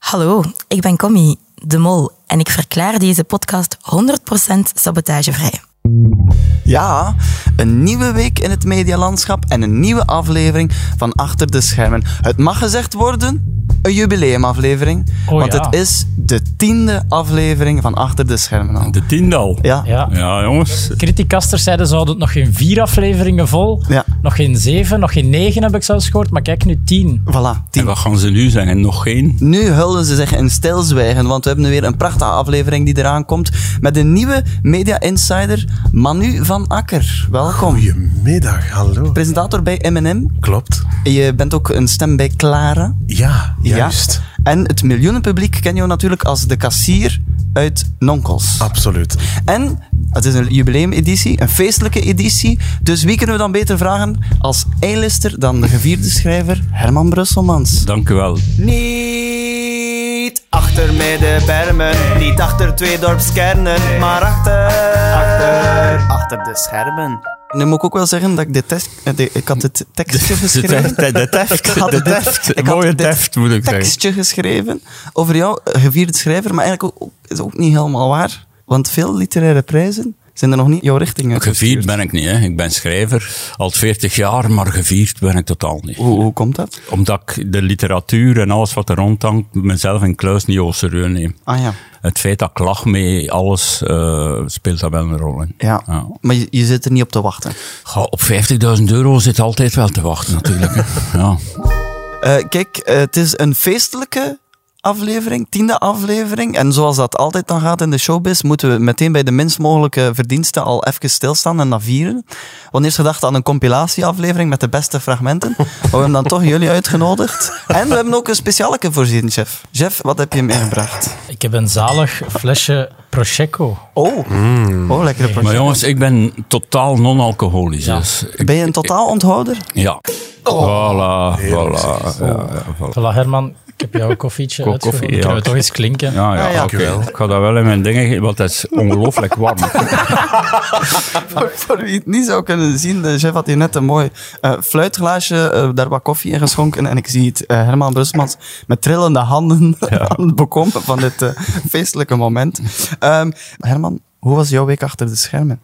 Hallo, ik ben Commie, de mol, en ik verklaar deze podcast 100% sabotagevrij. Ja, een nieuwe week in het medialandschap en een nieuwe aflevering van Achter de Schermen. Het mag gezegd worden, een jubileumaflevering. Oh want ja. het is de tiende aflevering van Achter de Schermen. al. De tiende al. Ja, Ja. Ja, jongens. Criticasters zeiden ze hadden het nog geen vier afleveringen vol. Ja. Nog geen zeven, nog geen negen heb ik zelfs gehoord. Maar kijk, nu tien. voilà, En tien. wat gaan ze nu zeggen? Nog geen? Nu hulden ze zich in stilzwijgen, want we hebben weer een prachtige aflevering die eraan komt met een nieuwe media insider, Manu van Akker. Welkom. Goedemiddag, hallo. Presentator bij M&M. Klopt. Je bent ook een stem bij Clara. Ja, juist. En het miljoenenpubliek ken je natuurlijk als de kassier uit Nonkels. Ah. Absoluut. En het is een jubileumeditie, een feestelijke editie. Dus wie kunnen we dan beter vragen als eilister dan de gevierde schrijver Herman Brusselmans? Dank u wel. Niet achter mij de bermen, niet achter twee dorpskernen, maar achter, achter, achter de schermen. Nu moet ik ook wel zeggen dat ik dit test, eh, de- ik had dit tekstje geschreven. de Ik teft. had De dit- teft. ik had Mooie dit teft, moet ik zeggen. tekstje geschreven over jou, eh, gevierde schrijver, maar eigenlijk ook, is ook niet helemaal waar. Want veel literaire prijzen zijn er nog niet jouw richting uit. Gevierd ben ik niet, hè. Ik ben schrijver. Al 40 jaar, maar gevierd ben ik totaal niet. Hoe, hoe komt dat? Omdat ik de literatuur en alles wat er rondhangt, mezelf in kluis niet al serieus neem. Ah ja. Het feit dat ik lach mee, alles eh, speelt daar wel een rol in. Ja, maar je, je zit er niet op te wachten. Goh, op 50.000 euro zit altijd wel te wachten, natuurlijk. hè. ja. Eh, kijk, eh, het is een feestelijke aflevering, tiende aflevering. En zoals dat altijd dan gaat in de showbiz, moeten we meteen bij de minst mogelijke verdiensten al even stilstaan en dat vieren. Want eerst gedacht aan een compilatieaflevering met de beste fragmenten. Maar we hebben dan toch jullie uitgenodigd. En we hebben ook een specialeke voorzien, Jeff. Jeff, wat heb je meegebracht? Ik heb een zalig flesje Prosecco. Oh, oh lekkere Maar project. jongens, ik ben totaal non-alcoholisch. Ja. Dus ik- Ben je een totaal onthouder? Ja. Oh. Voilà, voilà. Ja, ja, voilà. Voilà, Herman, ik heb jouw koffietje Ko- uitgevonden. koffie, ja. Kunnen we toch eens klinken? Ja, ja, Ah, ja. oké. Dankjewel. Ik ga dat wel in mijn dingen geven, want het is ongelooflijk warm. Voor, voor wie het niet zou kunnen zien, de chef had hier net een mooi eh, fluitglaasje, eh, daar wat koffie in geschonken. En ik zie het eh, Herman Brusmans met trillende handen aan het bekomen van dit eh, feestelijke moment. Ehm, Herman, hoe was jouw week achter de schermen?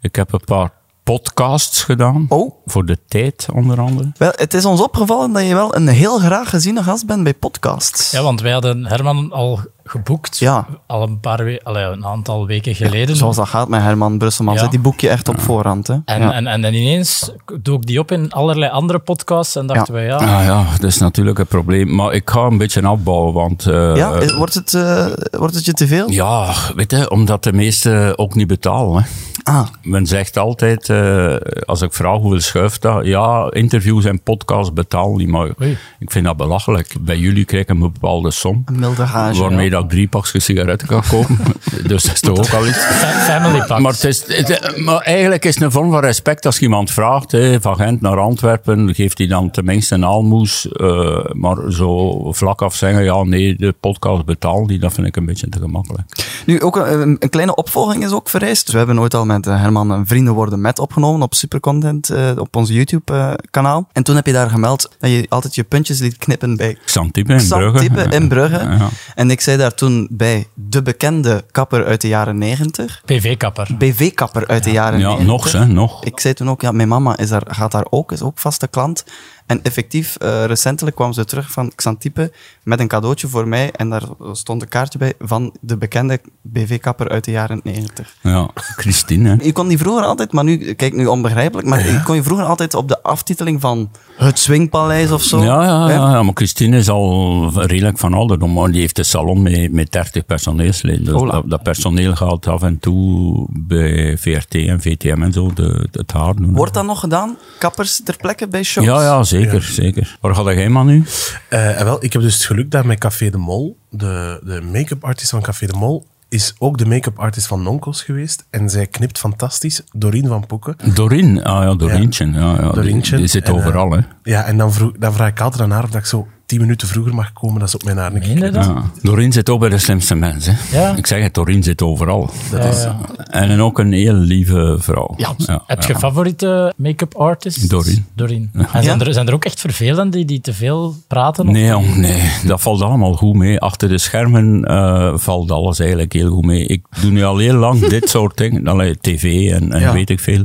ik heb een paar podcasts gedaan. Oh, Voor de tijd, onder andere. wel, het is ons opgevallen dat je wel een heel graag geziene gast bent bij podcasts. Ja, want wij hadden Herman al geboekt. Ja. Al een paar we- allee, een aantal weken geleden. Zoals dat gaat met Herman Brusselmans, Ja. hè, die boek je echt op voorhand. Hè? en, eh, Ja. en, en, en ineens dook die op in allerlei andere podcasts. En dachten wij, ja, Ah ja, dat is natuurlijk een probleem. Maar ik ga een beetje afbouwen, want... eh, Ja, is- wordt het, eh, wordt het je te veel? ja, weet je, omdat de meesten ook niet betalen. Hè. Ah, Men zegt altijd, eh, als ik vraag hoeveel schuift dat, ja, interviews en podcasts betalen niet, maar Oei. ik vind dat belachelijk. Bij jullie krijg ik een bepaalde som. een milde gage. waarmee dat ik drie pakjes sigaretten kan kopen. dus dat is toch ook al iets. fa- family pack. Maar, het is, het- maar eigenlijk is het een vorm van respect als je iemand vraagt, hè, van Gent naar Antwerpen, geeft hij dan tenminste een aalmoes. eh, maar zo vlak af zeggen, ja nee, de podcast betaalt die, dat vind ik een beetje te gemakkelijk. Nu, ook een, een kleine opvolging is ook vereist. Dus we hebben ooit al met eh, Herman een Vrienden Worden Met opgenomen op Supercontent, eh, op onze YouTube-kanaal. en toen heb je daar gemeld dat je altijd je puntjes liet knippen bij Xantippe in Brugge. Xantippe in Brugge. Ja, ja. En ik zei daar toen bij de bekende kapper uit de jaren 90, PV-kapper. BV-kapper uit de jaren Ja, 90. nog hè, nog. Ik zei toen ook, ja, mijn mama is daar, gaat daar ook, is ook vaste klant. En effectief, eh, recentelijk kwam ze terug van Xantippe met een cadeautje voor mij. En daar stond een kaartje bij van de bekende BV-kapper uit de jaren 90. Ja, Christine. hè. Je kon die vroeger altijd, maar nu, kijk nu onbegrijpelijk, maar je kon je vroeger altijd op de aftiteling van het Swingpaleis of zo. Ja, ja, hè? ja, ja, maar Christine is al redelijk van ouderdom, maar die heeft een salon met, met 30 personeelsleden. Dus Hola. dat, dat personeel gaat af en toe bij VRT en VTM en zo de, de- het haar doen. Wordt dat nog gedaan? Kappers ter plekke bij shows? ja, ja, zeker, zeker. Waar gaat jij man nu? Eh, en wel, ik heb dus het geluk dat met Café de Mol, de, de make-up artist van Café de Mol, is ook de make-up artist van Nonkels geweest. En zij knipt fantastisch. Dorien van Poeken. Dorin, ah ja, Dorintje. Ja. Ja, die- Dorintje. Die, zit En, eh, overal, hè. Ja, en dan, vroeg, dan vraag ik altijd aan haar of dat ik zo tien minuten vroeger mag komen, dat ze op mijn haar een keer Meen je dat? Ja. Doreen zit ook bij de slimste mensen. Ja. Ik zeg het, Doreen zit overal. Ja, ja. En ook een heel lieve vrouw. Ja, Heb je ja. favoriete make-up artist? Doreen. Doreen. En zijn, Ja? er, zijn er ook echt vervelende die, die te veel praten? Of- Nee, jong, nee, dat valt allemaal goed mee. Achter de schermen eh, valt alles eigenlijk heel goed mee. Ik doe nu al heel lang dit soort dingen, allee, tv en, en Ja. weet ik veel.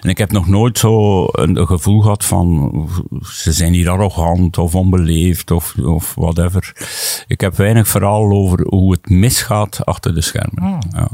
En ik heb nog nooit zo een, een gevoel gehad van ze zijn hier arrogant of onbeleefd of, of whatever. Ik heb weinig verhaal over hoe het misgaat achter de schermen. Ja.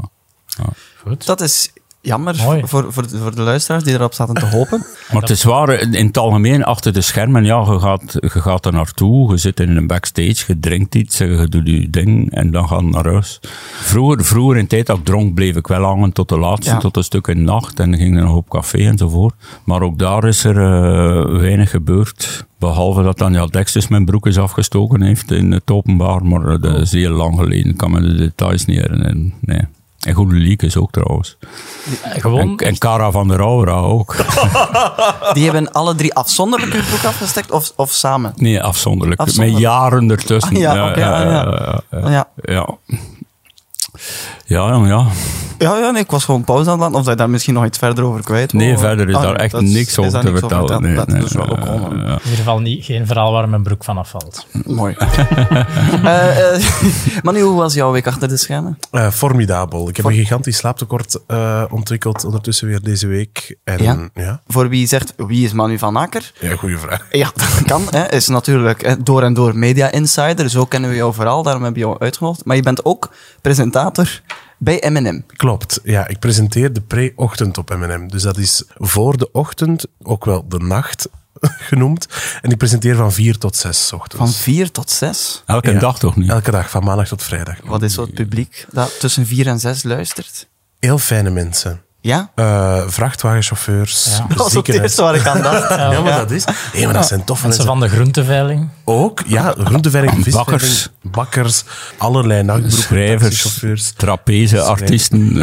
Dat is jammer Mooi. voor, voor, voor de luisteraars die erop zaten te hopen. Maar het is waar, in in het algemeen, achter de schermen, ja, je gaat, je gaat er naartoe, je zit in een backstage, je drinkt iets, en je doet je ding en dan gaat je naar huis. Vroeger, vroeger in de tijd dat ik dronk, bleef ik wel hangen tot de laatste, Ja. tot een stuk in de nacht en ging er nog op café enzovoort. Maar ook daar is er eh, weinig gebeurd. Behalve dat Daniel Dexters mijn broek is afgestoken heeft in het openbaar, maar eh, dat is heel lang geleden, ik kan me de details niet herinneren. Nee. En Goede Leek is ook trouwens. En, Gewoon en Cara van der Aura ook. Die hebben alle drie afzonderlijk hun broek afgestekt of, of samen. Nee, afzonderlijk. Afzonderlijk. Met jaren ertussen. Ah, ja, oké, ah, ja. ja, Ja, ja. Ja, jong, ja. ja, ja nee, ik was gewoon pauze aan het laten. Of dat je daar misschien nog iets verder over kwijt wil. Nee, verder is Ah, daar ja, echt dat is- niks is over daar te niks vertellen. Nee, dat nee, is wel ook eh, gewoon ja. in ieder geval niet, geen verhaal waar mijn broek van afvalt. mooi. Eh, eh, maar nu, hoe was jouw week achter de schermen? Eh, formidabel. Ik heb een gigantisch slaaptekort eh, ontwikkeld ondertussen weer deze week. En, Ja? ja? Ja, Voor wie zegt, wie is Manu van Akker? goede vraag. Ja, dat kan. Hè. Is natuurlijk hè, door en door media insider. Zo kennen we jou vooral, daarom hebben we jou uitgenodigd. Maar je bent ook presentator bij M&M. Klopt. Ja, ik presenteer de pre-ochtend op M&M. Dus dat is voor de ochtend, ook wel de nacht genoemd. En ik presenteer van 4 tot 6 Van ochtends. 4 tot 6. Elke Ja. dag toch niet? Elke dag, van maandag tot vrijdag. Wat is zo het publiek dat tussen 4 en 6 luistert? Heel fijne mensen. Ja? Eh, vrachtwagenchauffeurs, Dat was ook het ziekenhuis- eerste waar ik aan dacht. Ja, maar dat is... Nee, maar dat zijn toffe Mensen mensen. van de groenteveiling. Ook, ja, groenteveiling, visveiling, Bakkers. bakkers, allerlei nachtbroeken, Schrijvers, taxichauffeurs. trapeze, artiesten,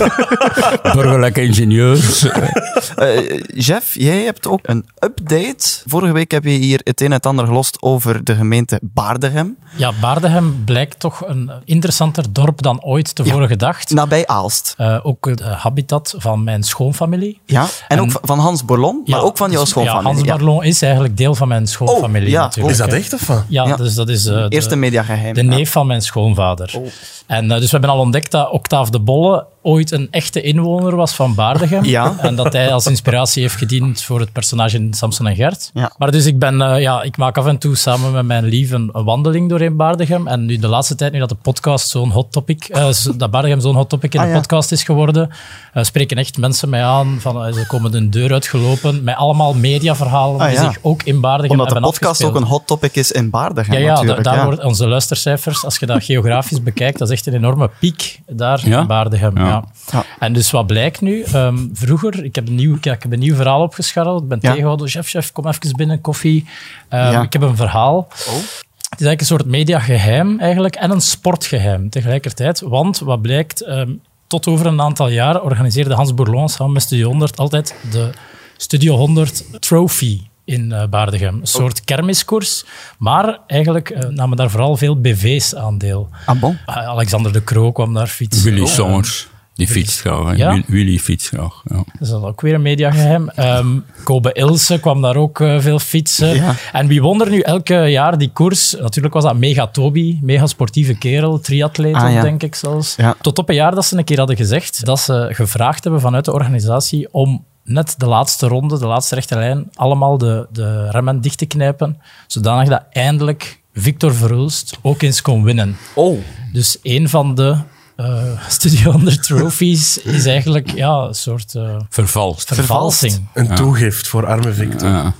eh, burgerlijke ingenieurs. Eh, Jeff, jij hebt ook een update. Vorige week heb je hier het een en het ander gelost over de gemeente Baardegem. Ja, Baardegem blijkt toch een interessanter dorp dan ooit tevoren gedacht. Nabij Aalst. Eh, ook het eh, habitat van mijn schoonfamilie. Ja? En, ook van Hans Borlon, maar Ja, ook van jouw dus- schoonfamilie. Ja, Hans ja. Oh, Barlon is eigenlijk deel van mijn schoonfamilie ja. natuurlijk. Is dat hè. echt of wat? Ja, Ja. dus dat is eh, de, Eerste mediageheim. de ja. neef van mijn schoonvader. Oh. En, eh, dus we hebben al ontdekt dat Octaaf de Bolle ooit een echte inwoner was van Baardegem. Ja. En dat hij als inspiratie heeft gediend voor het personage in Samson en Gert. Ja. Maar dus ik, ben, eh, ja, ik maak af en toe samen met mijn lief een, een wandeling doorheen Baardegem. En nu de laatste tijd, nu dat de podcast zo'n hot topic, eh, zo- dat Baardegem zo'n hot topic in Ah, de ja. podcast is geworden, eh, spreken echt mensen mij aan van eh, ze komen de deur uitgelopen met allemaal mediaverhalen Ah, die ja. zich ook in Baardegem Omdat de hebben podcast ook afgespeeld. een hot topic is in Baardegem Ja, ja, da- natuurlijk. daar ja. worden onze luistercijfers, als je dat geografisch bekijkt, dat is echt een enorme piek daar Ja? in Baardegem. Ja. Ja. Ja. En dus wat blijkt nu? Ehm, vroeger, ik heb, een nieuw, ik heb een nieuw verhaal opgescharreld. Ik ben Ja. tegengehouden, chef, chef, kom even binnen, koffie. Ehm, Ja. Ik heb een verhaal. Het is eigenlijk een soort mediageheim eigenlijk en een sportgeheim tegelijkertijd. Want wat blijkt, ehm, tot over een aantal jaar organiseerde Hans Bourlon samen met Studio 100 altijd de Studio 100 Trophy in eh, Baardegem. Een soort kermiskoers, maar eigenlijk eh, namen daar vooral veel BV's aan deel. Ah, bon. Ah, Alexander de Croo kwam daar fietsen. Willy Oh, Sommers, die fietst graag. hè. Ja? Wil- Willy fietst graag. Ja. dat is dan ook weer een mediageheim. Ehm Kobe Ilse kwam daar ook eh, veel fietsen. Ja. En wie wonder nu elke jaar die koers? Natuurlijk was dat mega Toby, mega sportieve kerel, triatleet Ah, ook, ja. denk ik zelfs. Ja. Tot op een jaar dat ze een keer hadden gezegd dat ze gevraagd hebben vanuit de organisatie om net de laatste ronde, de laatste rechte lijn, allemaal de, de remmen dicht te knijpen, zodanig dat eindelijk Victor Verhulst ook eens kon winnen. Oh. Dus een van de eh Studio Under Trophies is eigenlijk ja, een soort... eh, Vervalst. vervalsing. Een toegift voor arme Victor. Ja.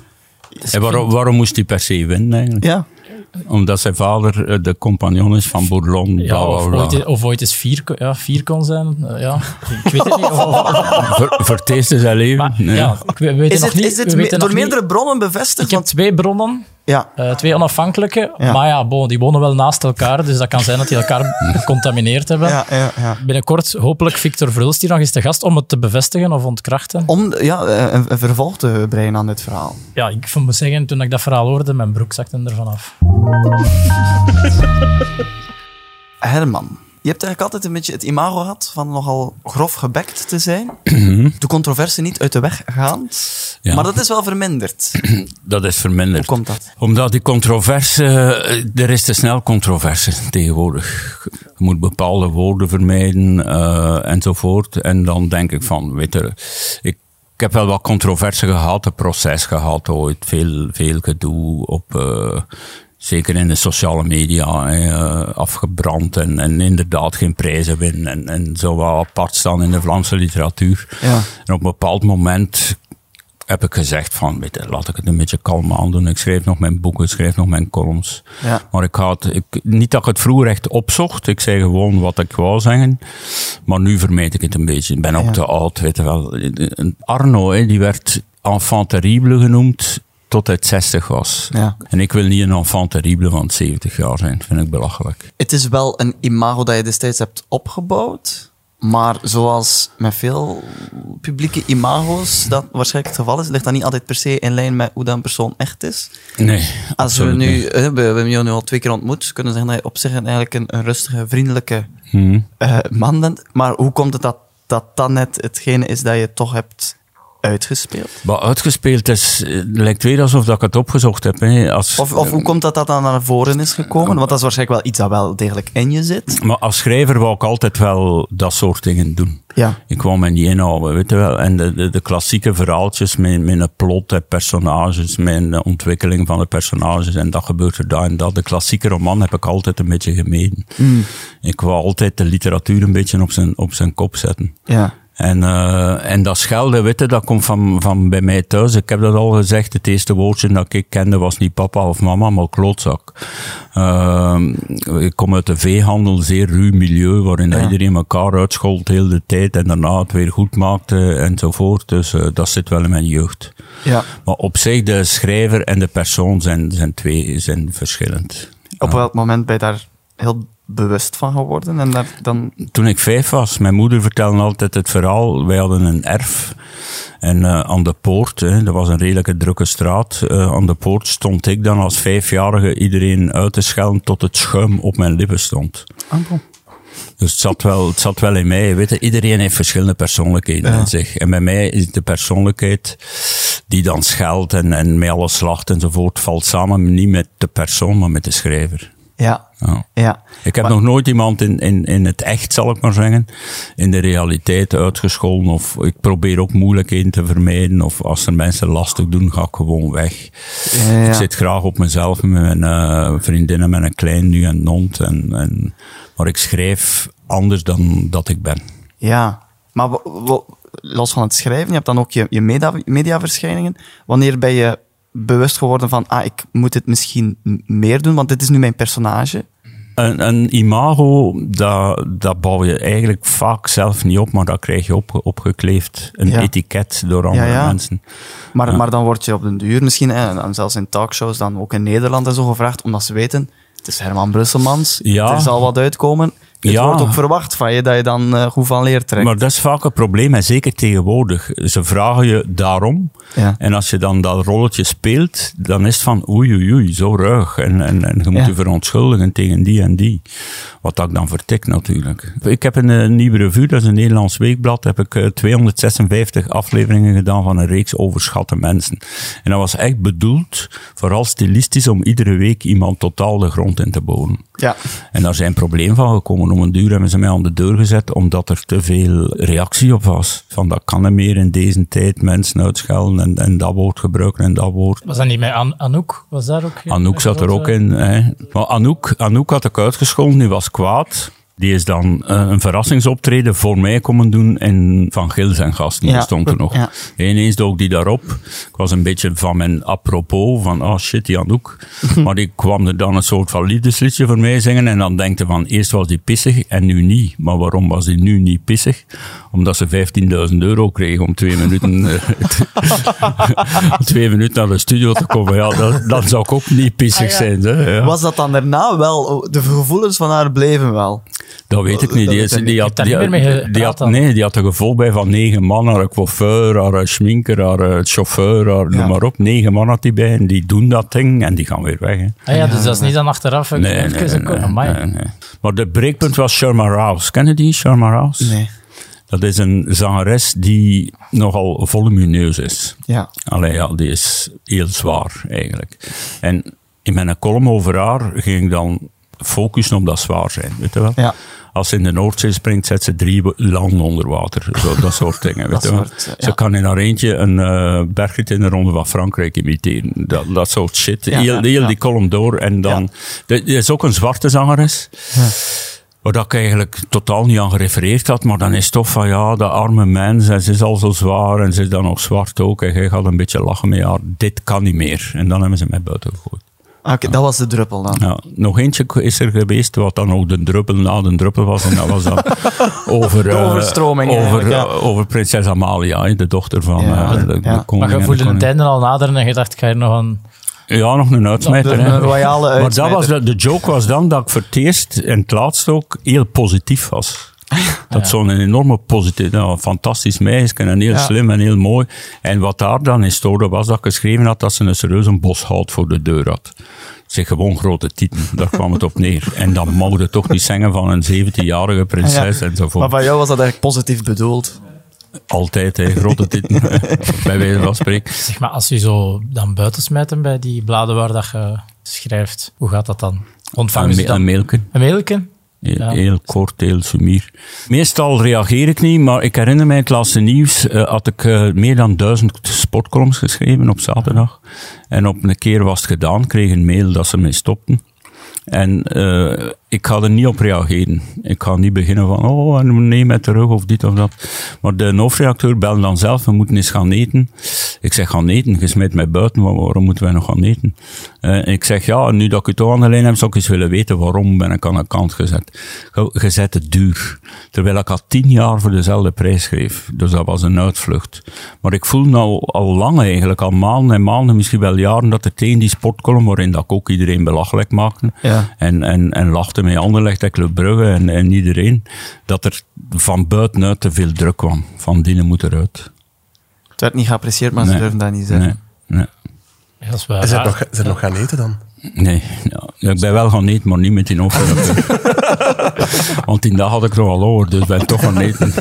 En waarom, waarom moest hij per se winnen eigenlijk? Ja. Omdat zijn vader eh, de compagnon is van Bourlon. bla, Ja, bla, of, bla. ooit, of ooit eens vier, ko- ja, vier kon zijn. Eh, ja. Ik weet het niet. Of, Ver, verteest hij zijn leven? maar, Nee. ja, ik we- we weten Is nog het, niet. is we het me- weten door nog niet. meerdere bronnen bevestigd? Ik heb Want twee bronnen. Ja. Eh, twee onafhankelijke, Ja. maar ja, bon, die wonen wel naast elkaar, dus dat kan zijn dat die elkaar gecontamineerd hebben. Ja, ja, ja. Binnenkort hopelijk Victor Verhulst hier nog eens te gast om het te bevestigen of ontkrachten. Om ja, eh, een, een vervolg te breien aan dit verhaal. Ja, ik vond me zeggen, toen ik dat verhaal hoorde, mijn broek zakte ervan af. Herman, je hebt eigenlijk altijd een beetje het imago gehad van nogal grof gebekt te zijn. De controverse niet uit de weg gehaald. Ja. Maar dat is wel verminderd. Dat Hoe is verminderd. komt dat? Omdat die controverse, eh, er is te snel controverse tegenwoordig. Je moet bepaalde woorden vermijden eh, enzovoort. En dan denk ik van, weet je, ik, ik heb wel wat controverse gehad, een proces gehad ooit, veel, veel gedoe op... eh, Zeker in de sociale media, hè, eh, afgebrand en, en inderdaad geen prijzen winnen en, en zo wat apart staan in de Vlaamse literatuur. Ja. En op een bepaald moment heb ik gezegd van, weet je, laat ik het een beetje kalm aandoen. Ik schreef nog mijn boeken, ik schreef nog mijn columns. Ja. Maar ik had, ik, niet dat ik het vroeger echt opzocht. Ik zei gewoon wat ik wou zeggen. Maar nu vermijd ik het een beetje. Ik ben ook te oud, weet je wel. Arno, hè, die werd enfant terrible genoemd tot hij 60 was. Ja. En ik wil niet een enfant terrible van 70 jaar zijn. Dat vind ik belachelijk. Het is wel een imago dat je destijds hebt opgebouwd. Maar zoals met veel publieke imago's dat waarschijnlijk het geval is, ligt dat niet altijd per se in lijn met hoe dat een persoon echt is. Nee, Als we absoluut nu, niet. eh, we we hebben jou nu al twee keer ontmoet, kunnen we zeggen dat je op zich een- eigenlijk een, een rustige, vriendelijke Hmm. eh, man bent. Maar hoe komt het dat dat dan net hetgene is dat je toch hebt uitgespeeld? Wat uitgespeeld is, eh, lijkt weer alsof dat ik het opgezocht heb. Hè. Als, Of, of hoe komt dat dat dan naar voren is gekomen? Want dat is waarschijnlijk wel iets dat wel degelijk in je zit. Maar als schrijver wou ik altijd wel dat soort dingen doen. Ja. Ik wou me niet inhouden, weet je wel. En de, de, de klassieke verhaaltjes met, met een plot en personages, met een ontwikkeling van de personages en dat gebeurt er daar en dat. De klassieke roman heb ik altijd een beetje gemeden. Ik wou altijd de literatuur een beetje op zijn, op zijn kop zetten. Ja. En, eh, en dat schelden, weet je, dat komt van, van bij mij thuis. Ik heb dat al gezegd. Het eerste woordje dat ik kende was niet papa of mama, maar klootzak. Ehm, ik kom uit de veehandel, zeer ruw milieu, waarin iedereen elkaar uitschold heel de tijd en daarna het weer goed maakte enzovoort. Dus eh, dat zit wel in mijn jeugd. ja. Maar op zich, de schrijver en de persoon zijn, zijn twee zijn verschillend. Op welk moment ben je daar heel bewust van geworden? En daar dan... toen ik vijf was, mijn moeder vertelde altijd het verhaal. Wij hadden een erf. En eh, aan de poort, hè, dat was een redelijke drukke straat, eh, aan de poort stond ik dan als vijfjarige iedereen uit te schelden tot het schuim op mijn lippen stond. Dus het zat wel, het zat wel in mij. Weet je, iedereen heeft verschillende persoonlijkheden in zich. En bij mij is de persoonlijkheid die dan scheldt en, en mij alles slacht enzovoort, valt samen niet met de persoon, maar met de schrijver. Ja. Ja. Ja. Ik heb Maar- nog nooit iemand in, in, in het echt, zal ik maar zeggen, in de realiteit uitgescholden. Of ik probeer ook moeilijkheden te vermijden. Of als er mensen lastig doen, ga ik gewoon weg. Ja, ja. Ik zit graag op mezelf, met mijn eh, vriendinnen, met een klein nu en nond. En, en, maar ik schrijf anders dan dat ik ben. Ja. Maar wa- wa- los van het schrijven, je hebt dan ook je, je media, mediaverschijningen. Wanneer ben je bewust geworden van, ah, ik moet dit misschien m- meer doen, want dit is nu mijn personage. Een, een imago, dat, dat bouw je eigenlijk vaak zelf niet op, maar dat krijg je op, opgekleefd. Een Ja. etiket door andere ja. mensen. Maar, maar dan word je op den duur misschien, eh, en dan zelfs in talkshows, dan ook in Nederland en zo gevraagd, omdat ze weten, het is Herman Brusselmans, Ja. er zal wat uitkomen. Het Ja. wordt ook verwacht van je dat je dan eh, goed van leer trekt. Maar dat is vaak een probleem, en zeker tegenwoordig. Ze vragen je daarom. Ja. En als je dan dat rolletje speelt, dan is het van oei, oei, oei, zo ruig. En, en, en je moet Ja. je verontschuldigen tegen die en die. Wat dat ik dan vertik natuurlijk. Ik heb in een eh, nieuwe revue, dat is een Nederlands weekblad, heb ik eh, 256 afleveringen gedaan van een reeks overschatte mensen. En dat was echt bedoeld, vooral stilistisch, om iedere week iemand totaal de grond in te boren. Ja. En daar zijn problemen van gekomen. Om een duur hebben ze mij aan de deur gezet omdat er te veel reactie op was. Van dat kan er meer in deze tijd mensen uitschelden en, en dat woord gebruiken en dat woord. Was dat niet met An- Anouk? Was daar ook geen- Eh, Anouk zat er grote- ook in. Hè. Maar Anouk, Anouk had ik uitgescholden, die was kwaad. Die is dan eh, een verrassingsoptreden voor mij komen doen in Van Gils en Gasten. Ja. Dat stond er nog. Ja. Ineens dook die daarop. Ik was een beetje van mijn apropos, van oh shit, die Anouk. maar die kwam er dan een soort van liefdesliedje voor mij zingen. En dan denkte van, eerst was die pissig en nu niet. Maar waarom was die nu niet pissig? Omdat ze 15.000 euro kreeg om twee minuten, eh, om twee minuten naar de studio te komen. Ja, dat, dan zou ik ook niet pissig Ah, zijn. Hè? Ja. Was dat dan daarna wel? oh, De gevoelens van haar bleven wel. Dat weet ik niet. Die, is- die had, daar die, niet meer mee gepraat die had, dan? nee, die had een gevolg bij van negen man. Haar coiffeur, haar schminker, haar eh, chauffeur, haar, noem maar op. Negen man had die bij en die doen dat ding en die gaan weer weg. Hè. Ah ja, dus dat is niet dan achteraf. Nee, nee, nee, Even- Amai. nee, nee. Maar de breekpunt was Sharma Rouse. Kennen die Sharma Rouse? Nee. Dat is een zangeres die nogal volumineus is. Ja. Allee, ja, die is heel zwaar eigenlijk. En in mijn column over haar ging ik dan focussen op dat zwaar zijn, weet je wel? Ja. Als ze in de Noordzee springt, zet ze drie wa- landen onder water. Zo, dat soort dingen, weet Dat je wel? soort, eh, Ze ja. kan in haar eentje een eh bergrit in de Ronde van Frankrijk imiteren. Dat, dat soort shit. Ja, heel ja, heel ja. die column door en dan... Er is ook een zwarte zangeres. Waar dat ik eigenlijk totaal niet aan gerefereerd had, maar dan is het toch van ja, de arme mens, en ze is al zo zwaar en ze is dan nog zwart ook. En jij gaat een beetje lachen met haar, dit kan niet meer. En dan hebben ze mij buiten gegooid. Ah, Oké, dat was de druppel dan. Ja, nog eentje is er geweest, wat dan ook de druppel na de druppel was. En dat was dan over, De eh, overstroming over, eigenlijk, ja. eh, over prinses Amalia, hè, de dochter van Ja, eh, de, de ja. koning. Maar en je de voelde het koningin. einde al naderen en je dacht, ik ga hier nog een... Ja, nog een De- uitsmijter. hè. een royale Maar dat uitsmijter. was, de, de joke was dan dat ik voor het eerst en het laatst ook heel positief was. Dat zo'n enorme positief, nou, een fantastisch meisje en heel Ja. slim en heel mooi. En wat daar dan in stoorde was dat ik geschreven had dat ze een serieus een boshout voor de deur had. Zeg gewoon grote tieten, daar kwam het op neer. En dan mocht je toch niet zingen van een 17-jarige prinses Ja. enzovoort. Maar van jou was dat eigenlijk positief bedoeld. Altijd, hè, grote tieten, bij wijze van spreken. Zeg maar, als je zo dan buiten smijten bij die bladen waar dat je schrijft, hoe gaat dat dan? Ontvangen Een, ze me- dan een mailken. een mailje? Heel, Ja. heel kort, heel sumier. Meestal reageer ik niet, maar ik herinner mij het laatste nieuws. eh, had ik eh, meer dan duizend sportcolumns geschreven op zaterdag. En op een keer was het gedaan, kreeg een mail dat ze mee stopten. En eh, ik ga er niet op reageren. Ik ga niet beginnen van, oh, en neem mij terug of dit of dat. Maar de hoofdredacteur belde dan zelf, we moeten eens gaan eten. Ik zeg, gaan eten? Je smijt mij buiten, maar waarom moeten wij nog gaan eten? Eh, ik zeg, ja, nu dat ik u toch aan de lijn heb, zou ik eens willen weten waarom ben ik aan de kant gezet. Ge- Je zet het duur. Terwijl ik al tien jaar voor dezelfde prijs schreef. Dus dat was een uitvlucht. Maar ik voel nou al lang eigenlijk, al maanden en maanden, misschien wel jaren, dat er tegen die sportcolumn, waarin dat ik ook iedereen belachelijk maakte, Ja. en, en, en lachte met Anderlecht en Club Brugge en, en iedereen, dat er van buitenuit te veel druk kwam. Van dienen moet eruit. Het werd niet geapprecieerd, maar ze Nee. durven dat niet Nee, zeggen. nee. Ja, dat is wel En zijn raar. nog, zijn nog gaan eten dan? Nee, ja, ik ben wel gaan eten, maar niet met die hoofdredacteur. Want die dag had ik er al over, dus ben toch gaan eten. Z-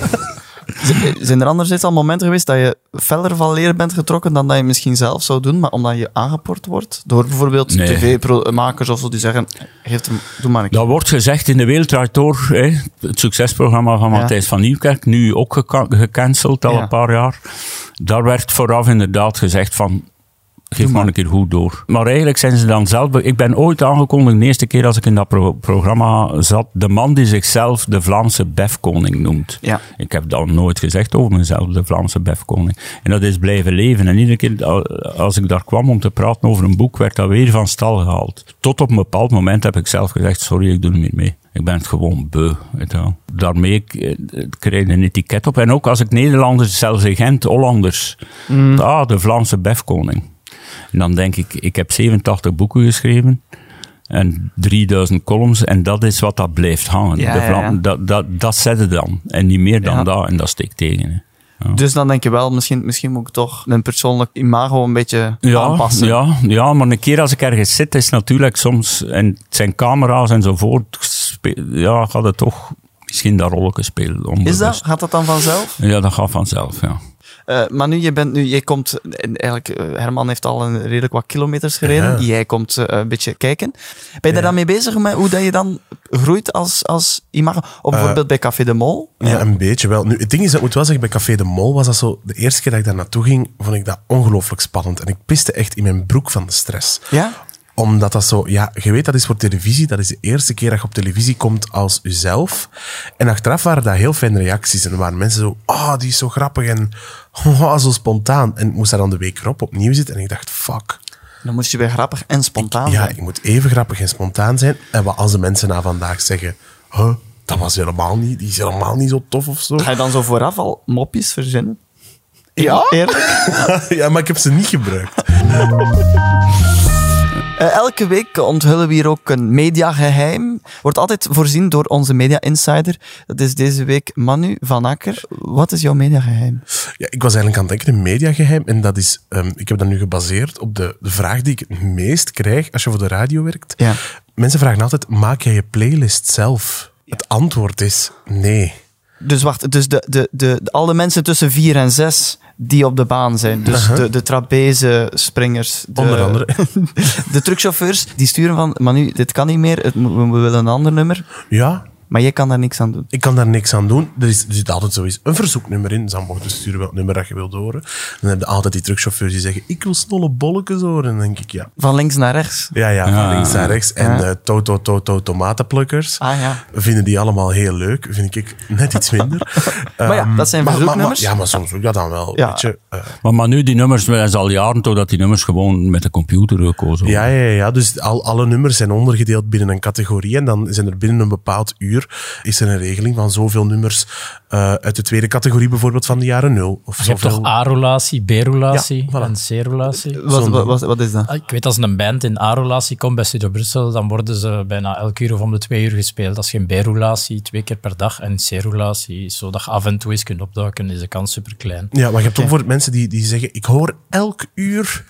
eh, Zijn er anderzijds al momenten geweest dat je feller van leren bent getrokken dan dat je misschien zelf zou doen, maar omdat je aangeport wordt door bijvoorbeeld Nee. tv-makers of zo die zeggen, geef hem, doe maar een keer. Dat wordt gezegd in de wereld draait door, hè, het succesprogramma van Ja. Matthijs van Nieuwkerk, nu ook geka- gecanceld al Ja. een paar jaar. Daar werd vooraf inderdaad gezegd van, geef maar een keer goed door. Maar eigenlijk zijn ze dan zelf... be- Ik ben ooit aangekondigd, de eerste keer als ik in dat pro- programma zat, de man die zichzelf de Vlaamse befkoning noemt. Ja. Ik heb dat nooit gezegd over mezelf, de Vlaamse befkoning. En dat is blijven leven. En iedere keer al- als ik daar kwam om te praten over een boek, werd dat weer van stal gehaald. Tot op een bepaald moment heb ik zelf gezegd, sorry, ik doe niet meer mee. Ik ben het gewoon beu. Weet je wel. Daarmee k- eh, kreeg ik een etiket op. En ook als ik Nederlanders, zelfs in Gent, Hollanders. Ah, de Vlaamse befkoning. En dan denk ik, ik heb 87 boeken geschreven. En 3000 columns, en dat is wat dat blijft hangen. Ja, de ja, Vlam- ja. Dat, dat, dat zet het dan. En niet meer dan Ja. dat, en dat steekt tegen. hè. Dus dan denk je wel, misschien, misschien moet ik toch mijn persoonlijk imago een beetje aanpassen. Ja, ja, maar een keer als ik ergens zit, is natuurlijk soms, en het zijn camera's enzovoort, spe- ja, gaat het toch misschien dat rolletje spelen. Is dat? onbewust. Gaat dat dan vanzelf? Ja, dat gaat vanzelf, ja. Eh, maar nu, je, bent, nu, je komt, en eigenlijk, eh, Herman heeft al een redelijk wat kilometers gereden. Ja. Jij komt eh, een beetje kijken. Ben je daar dan mee bezig met hoe dat je dan groeit als, als imago? Of bijvoorbeeld bij Café de Mol? Eh, Ja, een beetje wel. Nu, het ding is, dat ik moet wel zeggen, bij Café de Mol was dat zo... De eerste keer dat ik daar naartoe ging, vond ik dat ongelooflijk spannend. En ik piste echt in mijn broek van de stress. Ja? Omdat dat zo, ja, je weet dat is voor televisie. Dat is de eerste keer dat je op televisie komt als uzelf. En achteraf waren dat heel fijne reacties. En waren mensen zo, oh, die is zo grappig en oh, zo spontaan. En ik moest daar dan de week erop opnieuw zitten. En ik dacht, fuck. Dan moest je weer grappig en spontaan Ah, Ja, zijn. ik moet even grappig en spontaan zijn. En wat als de mensen na vandaag zeggen, huh, dat was helemaal niet, die is helemaal niet zo tof of zo. Ga je dan zo vooraf al mopjes verzinnen? Ja? Eerlijk? ja, maar ik heb ze niet gebruikt. Eh, elke week onthullen we hier ook een mediageheim. Wordt altijd voorzien door onze media insider. Dat is deze week Manu van Akker. Wat is jouw mediageheim? Ja, ik was eigenlijk aan het denken in mediageheim. En dat is, ehm, ik heb dat nu gebaseerd op de, de vraag die ik het meest krijg als je voor de radio werkt. Ja. Mensen vragen altijd, maak jij je playlist zelf? Het antwoord is nee. Dus wacht, dus de, de, de, de- alle mensen tussen 4 en 6 die op de baan zijn. Dus Uh-huh. de, de trapeze-springers. De, Onder andere. De truckchauffeurs, die sturen van, maar nu, dit kan niet meer, het, moet- we willen een ander nummer. Ja, Maar jij kan daar niks aan doen. ik kan daar niks aan doen. Er, is, er zit altijd zoiets een verzoeknummer in. Dus dan mogen sturen welk nummer dat je wilt horen. Dan heb je altijd die truckchauffeurs die zeggen, ik wil snolle bolletjes horen. En dan denk ik, ja. Van links naar rechts. Ja, ja, van links naar rechts. En eh, to, to, to, to, tomatenplukkers. Ah, ja. Vinden die allemaal heel leuk. Vind ik net iets minder. Maar ja, Ehm, dat zijn maar- maar- verzoeknummers. maar- Ja, maar soms ook dat dan wel. Ja. Weet je, eh, Maar, maar nu, die nummers, dat is al jaren toch dat die nummers gewoon met de computer gekozen worden. ja, ja, ja, ja. Dus al, alle nummers zijn ondergedeeld binnen een categorie. En dan zijn er binnen een bepaald uur is er een regeling van zoveel nummers eh, uit de tweede categorie bijvoorbeeld van de jaren nul. Of Je hebt zoveel... toch A-relatie, B-relatie Ja, voilà. en C-relatie? Wat, wat, wat, wat is dat? Ah, Ik weet, als een band in A-relatie komt bij Studio Brussel, dan worden ze bijna elke uur of om de twee uur gespeeld. Als je een B-relatie twee keer per dag en een C-relatie, is zodat je af en toe eens kunt opduiken, is de kans super klein. Ja, maar je hebt ook voor mensen die, die zeggen: Ik hoor elk uur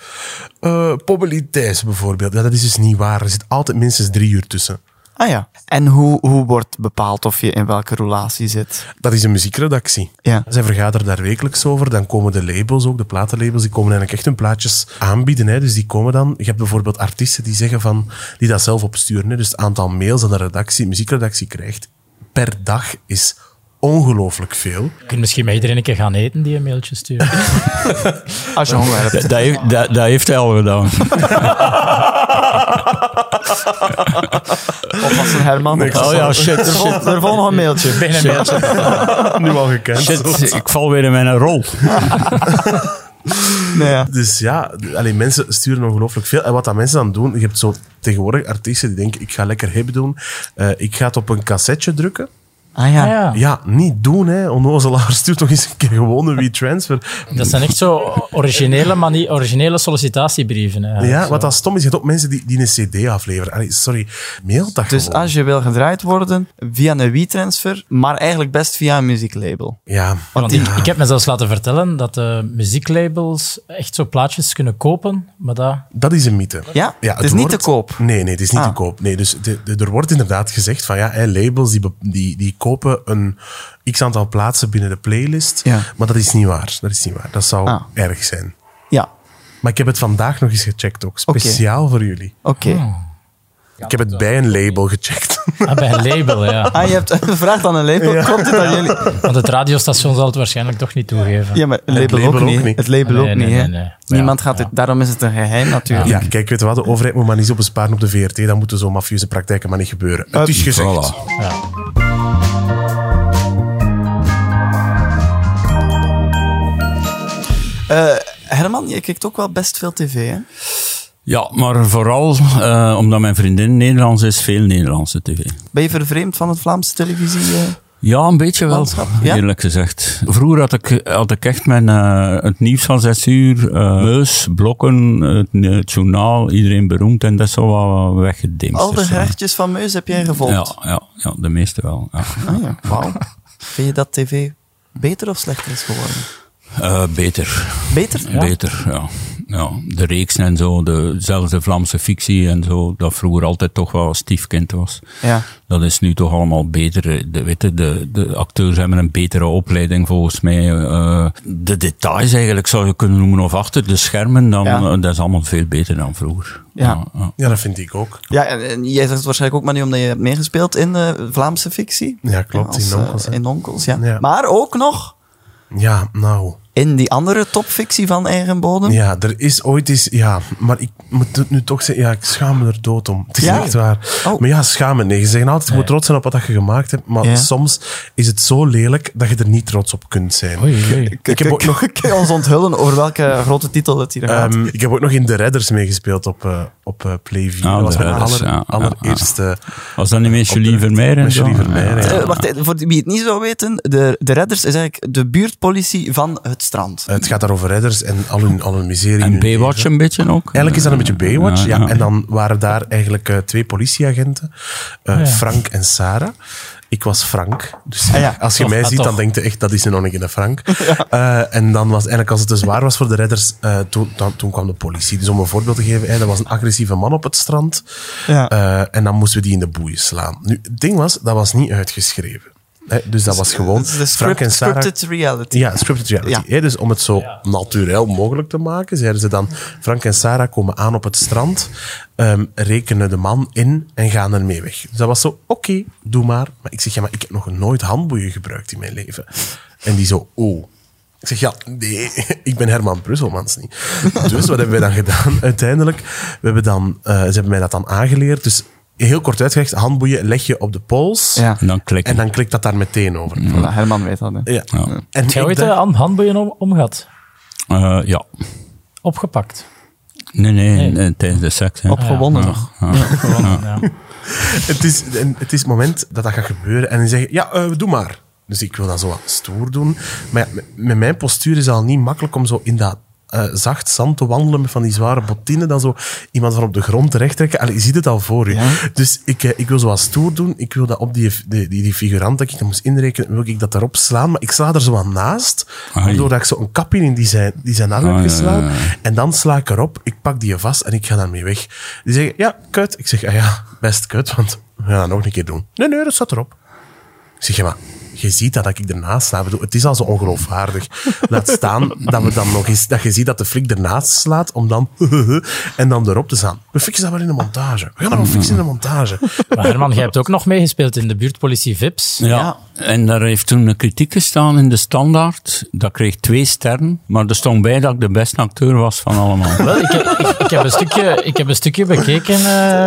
eh Pommelites bijvoorbeeld. Ja, dat is dus niet waar. Er zit altijd minstens drie uur tussen. Ah ja. En hoe, hoe wordt bepaald of je in welke relatie zit? Dat is een muziekredactie. Ja. Zij vergaderen daar wekelijks over. Dan komen de labels ook, de platenlabels, die komen eigenlijk echt hun plaatjes aanbieden. Hè. Dus die komen dan... Je hebt bijvoorbeeld artiesten die zeggen van... Die dat zelf opsturen. Hè. Dus het aantal mails dat de redactie, muziekredactie krijgt per dag is ongelooflijk veel. Je kunt misschien met iedereen een keer gaan eten die een mailtje stuurt. Als je honger hebt. Dat, dat heeft, dat, dat heeft hij al gedaan. Of als een Herman. Nee, ik Oh ja, shit, Er volgt, er volgt nog een mailtje. Bijna een mailtje. Nu al gekend. Shit, ik val weer in mijn rol. Nee, ja. Dus ja, alleen mensen sturen ongelooflijk veel. En wat dat mensen dan doen, je hebt zo tegenwoordig artiesten die denken, ik ga lekker hip doen. Eh, ik ga het op een cassetje drukken. Ah ja. Ah ja. Ja, niet doen hè. Onnozelaar, stuur toch eens een keer gewoon een WeTransfer. Dat zijn echt zo originele, manie, originele sollicitatiebrieven. eigenlijk. Ja, Zo. wat dat stom is, je hebt ook mensen die, die een cd afleveren. Allee, sorry, mail dat Dus gewoon. als je wil gedraaid worden via een WeTransfer, maar eigenlijk best via een muzieklabel. Ja, Want ik, ik heb me zelfs laten vertellen dat de muzieklabels echt zo plaatjes kunnen kopen, maar dat... dat is een mythe. Ja? Het is niet te koop. Nee, nee, het is niet Ah. te koop. Nee, dus de- de- er wordt inderdaad gezegd van ja, hè, labels die, be- die, die kopen een x aantal plaatsen binnen de playlist. Ja. Maar dat is niet waar. Dat is niet waar. Dat zou Ah. erg zijn. Ja, Maar ik heb het vandaag nog eens gecheckt ook. Oké. Speciaal voor jullie. oké. Ik heb het bij een label gecheckt. Ah, bij een label, ja. Ah, je hebt gevraagd aan een label. Klopt het aan jullie? Want het radiostation zal het waarschijnlijk toch niet toegeven. Ja, maar het label, label ook, ook niet. niet. Het label Nee, ook nee, niet, hè. nee, nee. Niemand gaat het... Daarom is het een geheim, natuurlijk. Ja, kijk, weet je wat? De overheid moet maar niet zo besparen op de VRT. Dan moeten zo'n mafieuze praktijken maar niet gebeuren. Het is gezegd. Ah, Voilà. Herman, je kijkt ook wel best veel tv, hè? Ja, maar vooral eh, omdat mijn vriendin Nederlands is, veel Nederlandse tv. Ben je vervreemd van het Vlaamse televisie? eh? Ja, een beetje wel, Landschap, ja? eerlijk gezegd. Vroeger had ik, had ik echt mijn, eh, het nieuws van zes uur, eh, meus, blokken, het, eh, het journaal, iedereen beroemd en dat is al wel weggedimst. Al de Dus, eh, gerechtjes van Meus heb jij gevolgd? ja, ja, ja, de meeste wel. Ja. Ah, ja. Wauw. Vind je dat tv beter of slechter is geworden? Eh, beter. Beter? Beter, ja. ja. De reeks en zo, de, zelfs de Vlaamse fictie en zo, dat vroeger altijd toch wel stiefkind was. Ja. Dat is nu toch allemaal beter. De, weet je, de, de acteurs hebben een betere opleiding volgens mij. Eh, de details eigenlijk zou je kunnen noemen, of achter de schermen, dan, Ja. eh, dat is allemaal veel beter dan vroeger. Ja. ja. Ja, dat vind ik ook. Ja, en, en jij zegt het waarschijnlijk ook maar nu omdat je hebt meegespeeld in eh, Vlaamse fictie. Ja, klopt, in eh, Onkels, hè. in Onkels, ja. Ja. Maar ook nog Ja, nou. in die andere topfictie van Eigen Bodem? Ja, er is ooit eens... Ja, maar ik moet het nu toch zeggen... Ja, ik schaam me er dood om. Het is Ja? echt waar. Oh. Maar ja, schamen. Nee, je zegt altijd, je moet trots zijn op wat dat je gemaakt hebt. Maar Ja. soms is het zo lelijk dat je er niet trots op kunt zijn. Oei, oei. Ik heb ook nog... Kun je ons onthullen over welke grote titel het hier gaat? Ehm, ik heb ook nog in de Redders meegespeeld op, eh, op eh, Play 4. Ah, dat was De mijn Redders, aller, ja, ja, allereerste... Was dat niet met Julie Vermeijren? Met Julie zo? Vermeijren, ja. Eh, wacht, eh, voor wie het niet zou weten, de, de Redders is eigenlijk de buurtpolitie van het strand. eh, Het gaat daar over redders en al hun, al hun miserie. in En hun Baywatch leven. een beetje ook? Eigenlijk is dat een beetje Baywatch, ja. Ja, ja. En dan waren daar eigenlijk eh, twee politieagenten, eh, ja. Frank en Sarah. Ik was Frank, dus ja. als je Toch, mij ah, ziet, dan toch. denk je echt, dat is een onnekende Frank. Eh, en dan was eigenlijk, als het te zwaar was voor de redders, eh, toen, dan- toen kwam de politie. Dus om een voorbeeld te geven, hè, er was een agressieve man op het strand. Ja. Eh, en dan moesten we die in de boeien slaan. Nu, het ding was, dat was niet uitgeschreven. Hè, dus dat was gewoon Het is de Frank en script, Sarah... scripted reality. Ja, scripted reality. Ja. hè. dus om het zo natuurlijk mogelijk te maken, zeiden ze dan: Frank en Sarah komen aan op het strand, ehm, rekenen de man in en gaan ermee weg. Dus dat was zo: oké, doe maar. Maar ik zeg: ja, maar ik heb nog nooit handboeien gebruikt in mijn leven. En die zo: oh. Ik zeg, ja, nee, ik ben Herman Brusselmans niet. Dus wat hebben wij dan gedaan? Uiteindelijk, we hebben dan, eh, ze hebben mij dat dan aangeleerd. Dus heel kort uitgelegd, handboeien leg je op de pols. Ja. En dan klikken. En dan klikt dat daar meteen over. Voilà, Herman weet dat. hè. Ja. Ja. En Jij ik ooit dacht- eh, aan handboeien om, omgehad? Eh, ja. Opgepakt? Nee, nee, nee, tijdens de seks. hè. Opgewonden Ah, Ja. nog. Ja. Gewonnen, ja. Het is, en het is het moment dat dat gaat gebeuren. En dan zeggen, ja, eh, doe maar. Dus ik wil dat zo wat stoer doen. Maar ja, met- met mijn postuur is het al niet makkelijk om zo in dat eh, zacht zand te wandelen met van die zware bottinen. Dan zo iemand van op de grond terecht trekken. Allee, je ziet het al voor je. Dus ik, eh, ik wil zo wat stoer doen. Ik wil dat op die, die, die, die figurant dat ik dan moest inrekenen, wil ik dat daarop slaan. Maar ik sla er zo aan naast. Ai. Waardoor dat ik zo een kap in die zijn, die zijn arm heb Ah, ja, geslaan. ja, ja. En dan sla ik erop, ik pak die vast en ik ga daarmee weg. Die zeggen, ja, kut. Ik zeg, ah ja, best kut, want we gaan dat nog een keer doen. Nee, nee, dat staat erop. Ik zeg, ja, maar je ziet dat, dat ik ernaast sla. Ik bedoel, het is al zo ongeloofwaardig. Laat staan dat, we dan nog eens, dat je ziet dat de flik ernaast slaat om dan en dan erop te staan. We fixen dat wel in de montage. We gaan dat wel fixen in de montage. Maar Herman, jij hebt ook nog meegespeeld in de buurtpolitie Vips. Ja. en daar heeft toen een kritiek gestaan in de standaard. Dat kreeg twee sterren, maar er stond bij dat ik de beste acteur was van allemaal. Dat Wel, ik, heb, ik, ik heb een stukje, ik heb een stukje bekeken.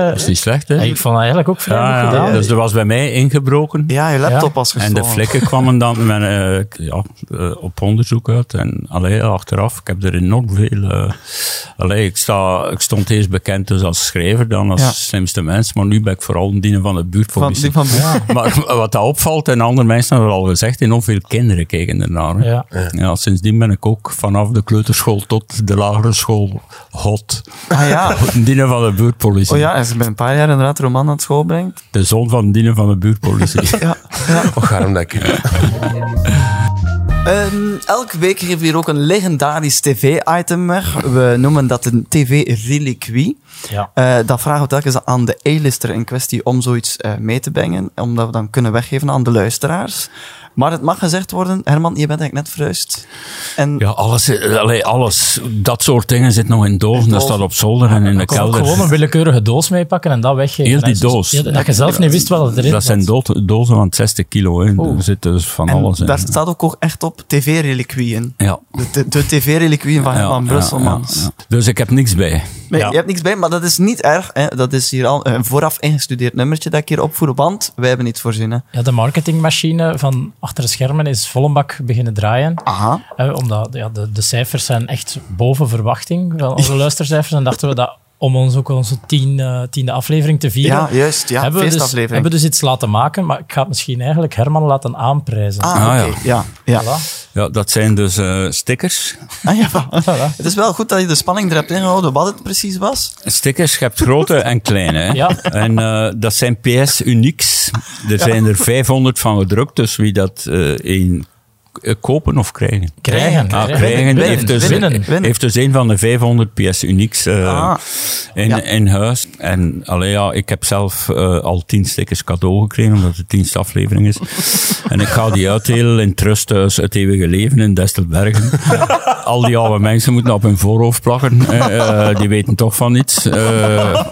eh, is niet slecht, hè? en ik vond dat eigenlijk ook vrij Ja, goed ja, gedaan. Dus er was bij mij ingebroken. Ja, je laptop was En gestolen. de flikken kwamen dan met, eh, ja, eh, op onderzoek uit. En allee, achteraf, ik heb er enorm veel... eh allee, ik, sta, ik stond eerst bekend dus als schrijver, dan als Ja. slimste mens. Maar nu ben ik vooral een diener van de van, buurtpolitie. die van Maar wat dat opvalt, en andere mensen hebben het al gezegd, enorm veel kinderen kijken ernaar. hè. Ja. Ja, sindsdien ben ik ook vanaf de kleuterschool tot de lagere school hot. Ah ja. Diener van de buurtpolitie. Oh ja, en ze ben een paar jaar inderdaad Roman aan het school brengt. De zoon van diener van de buurtpolitie. Ja. ja. Och, waarom dat ik... Ehm, elke week geven we hier ook een legendarisch tv-item weg. We noemen dat een tv-reliquie. Ja. Eh, dat vragen we telkens aan de A-lister in kwestie om zoiets eh, mee te brengen, omdat we dan kunnen weggeven aan de luisteraars. Maar het mag gezegd worden, Herman, je bent eigenlijk net verhuisd. En Ja, alles, eh, allee, alles, dat soort dingen zit nog in dozen. Dat staat op zolder en in de Ik kon ook kelder. gewoon een willekeurige doos meepakken en dat weggeven. Heel die En zo- doos. Ja, dat je zelf niet wist wat het erin Dat zijn zat. do- dozen van 60 kilo. Hè. Oeh. Er zit dus van en alles in. daar staat ook ook echt op tv-reliquieën. Ja. De, de, de tv-reliquieën van Herman Brusselmans. ja, ja. Dus ik heb niks bij. Nee, Ja. je hebt niks bij, maar dat is niet erg. Hè. Dat is hier al een vooraf ingestudeerd nummertje dat ik hier opvoer, want wij hebben iets voorzien. Hè. Ja, de marketingmachine van achter de schermen is volle bak beginnen draaien. Ah. Aha. Eh, omdat ja, de, de cijfers zijn echt boven verwachting. Wel, Onze luistercijfers. En dachten we dat om ons ook onze tien, eh, tiende aflevering te vieren. Ja, juist. Ja, hebben, we dus, feestaflevering. hebben we dus iets laten maken. Maar ik ga het misschien eigenlijk Herman laten aanprijzen. Ah, Ah, oké. Ja. Ja. Voilà. Ja, dat zijn dus eh, stickers. Ah, ja. Het is wel goed dat je de spanning er hebt ingehouden wat het precies was. Stickers, je hebt grote en kleine. Hè? Ja. En eh, dat zijn PS Uniques. Er zijn er 500 van gedrukt, dus wie dat eh één eh, kopen of krijgen? Krijgen. Ah, Krijgen. krijgen. Winnen. heeft, dus, Winnen. Winnen. heeft dus een van de 500 PS Uniques eh, Ah. in, Ja. in huis. En allee, ja, ik heb zelf eh, al 10 stickers cadeau gekregen, omdat het de tienste aflevering is. en ik ga die uitdelen in Trusthuis Het Eeuwige Leven in Destelbergen. al die oude mensen moeten op hun voorhoofd plakken. eh, eh, die weten toch van iets. Eh,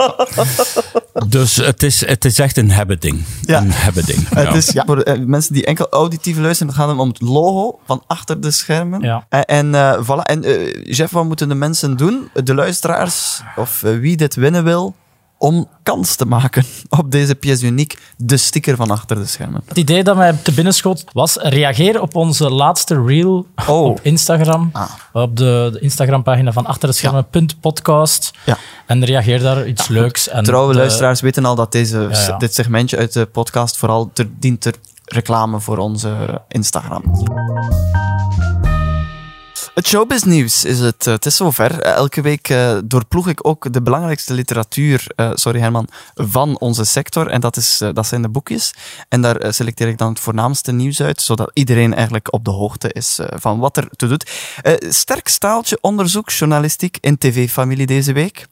dus het is, het is echt een hebben-ding. Ja. Een hebben-ding. Het is, voor eh, mensen die enkel auditief luisteren, het gaat hem om het logo logo van achter de schermen. Ja. En, en eh, voilà. En eh, Jeff, wat moeten de mensen doen? De luisteraars, of eh, wie dit winnen wil, om kans te maken op deze pièce unique, de sticker van achter de schermen. Het idee dat mij te binnen schoot was reageren op onze laatste reel Oh. op Instagram. Ah. Op de, de Instagram-pagina van achter de schermen, punt podcast. Ja. En reageer daar iets leuks. En eh, Trouwe de- luisteraars weten al dat deze, Ja, ja. dit segmentje uit de podcast vooral ter, dient ter reclame voor onze Instagram. Het showbiznieuws is het. eh, Het is zover. Eh, Elke week eh, doorploeg ik ook de belangrijkste literatuur, eh, sorry Herman, van onze sector. En dat, is, eh, dat zijn de boekjes. En daar eh, selecteer ik dan het voornaamste nieuws uit, zodat iedereen eigenlijk op de hoogte is eh, van wat er toe doet. Eh, sterk staaltje onderzoek journalistiek in TV-familie deze week.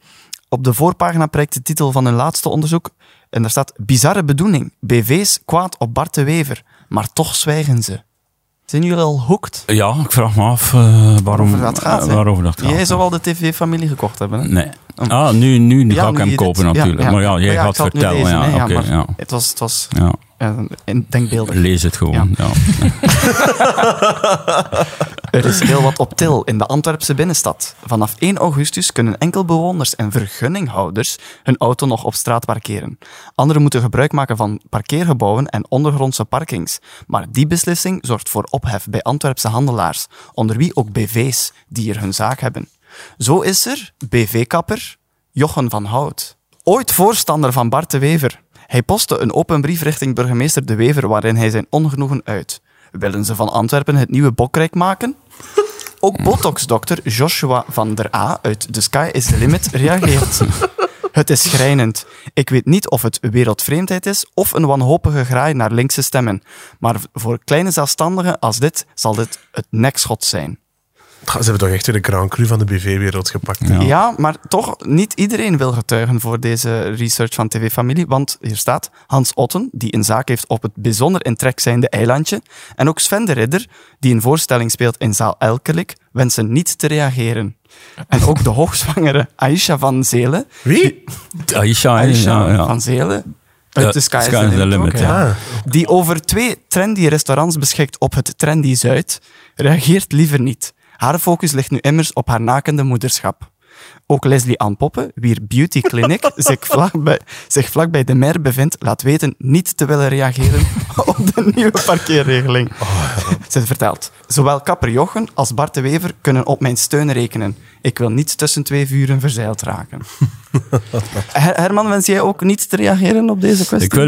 Op de voorpagina prijkt de titel van hun laatste onderzoek. En daar staat Bizarre bedoeling. BV's kwaad op Bart de Wever. Maar toch zwijgen ze. Zijn jullie al hooked? Ja, ik vraag me af eh, waarom, Waarover dat gaat, eh, hè? waarover dat gaat. Jij zou al de tv-familie gekocht hebben. Hè? Nee. Oh. Ah, nu, nu Ja, ga ik nu hem je kopen dit- natuurlijk. Maar ja, jij ik gaat zal het nu vertellen. lezen, hè. ja, oké. maar ja. Het was, het was Ja, eh, in- denkbeeldig. lees het gewoon. Ja. Er is heel wat op til in de Antwerpse binnenstad. Vanaf 1 augustus kunnen enkel bewoners en vergunninghouders hun auto nog op straat parkeren. Anderen moeten gebruik maken van parkeergebouwen en ondergrondse parkings. Maar die beslissing zorgt voor ophef bij Antwerpse handelaars, onder wie ook BV's die er hun zaak hebben. Zo is er BV-kapper Jochen van Hout. Ooit voorstander van Bart de Wever. Hij postte een open brief richting burgemeester De Wever waarin hij zijn ongenoegen uit. Willen ze van Antwerpen het nieuwe bokrijk maken? Ook botox-dokter Joshua van der A uit The Sky is the Limit reageert. Het is schrijnend. Ik weet niet of het wereldvreemdheid is of een wanhopige graai naar linkse stemmen. Maar voor kleine zelfstandigen als dit zal dit het nekschot zijn. Ze hebben toch echt weer de Grand Cru van de BV-wereld gepakt. hè? Ja. Ja. maar toch niet iedereen wil getuigen voor deze research van TV Familie. Want hier staat Hans Otten, die een zaak heeft op het bijzonder in trek zijnde eilandje. En ook Sven de Ridder, die een voorstelling speelt in zaal Elkelik, wensen niet te reageren. En ook de hoogzwangere Aisha van Zelen. Wie? Aisha, hè, Aisha ja, ja. van Zelen. Ja, Uit de Sky, is the Limit ook, ja. Ja. Die over twee trendy restaurants beschikt op het Trendy Zuid, reageert liever niet. Haar focus ligt nu immers op haar nakende moederschap. Ook Leslie Ann Poppe, wier beauty clinic zich vlakbij, zich vlakbij de mer bevindt, laat weten niet te willen reageren op de nieuwe parkeerregeling. Ze vertelt, zowel kapper Jochen als Bart de Wever kunnen op mijn steun rekenen. Ik wil niet tussen twee vuren verzeild raken. Her- Herman, wens jij ook niet te reageren op deze kwestie? Ik wil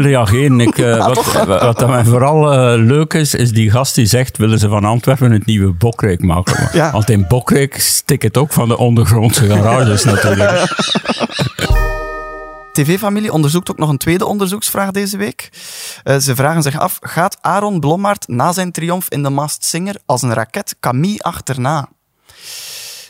reageren. Ik, eh, wat, wat dat mij vooral eh, leuk is, is die gast die zegt: willen ze van Antwerpen het nieuwe Bokrijk maken? Maar- Ja. Want in Bokrijk stikt het ook van de ondergrondse garages natuurlijk. TV-familie onderzoekt ook nog een tweede onderzoeksvraag deze week. Eh, ze vragen zich af, gaat Aaron Blommaert na zijn triomf in de Masked Singer als een raket Camille achterna?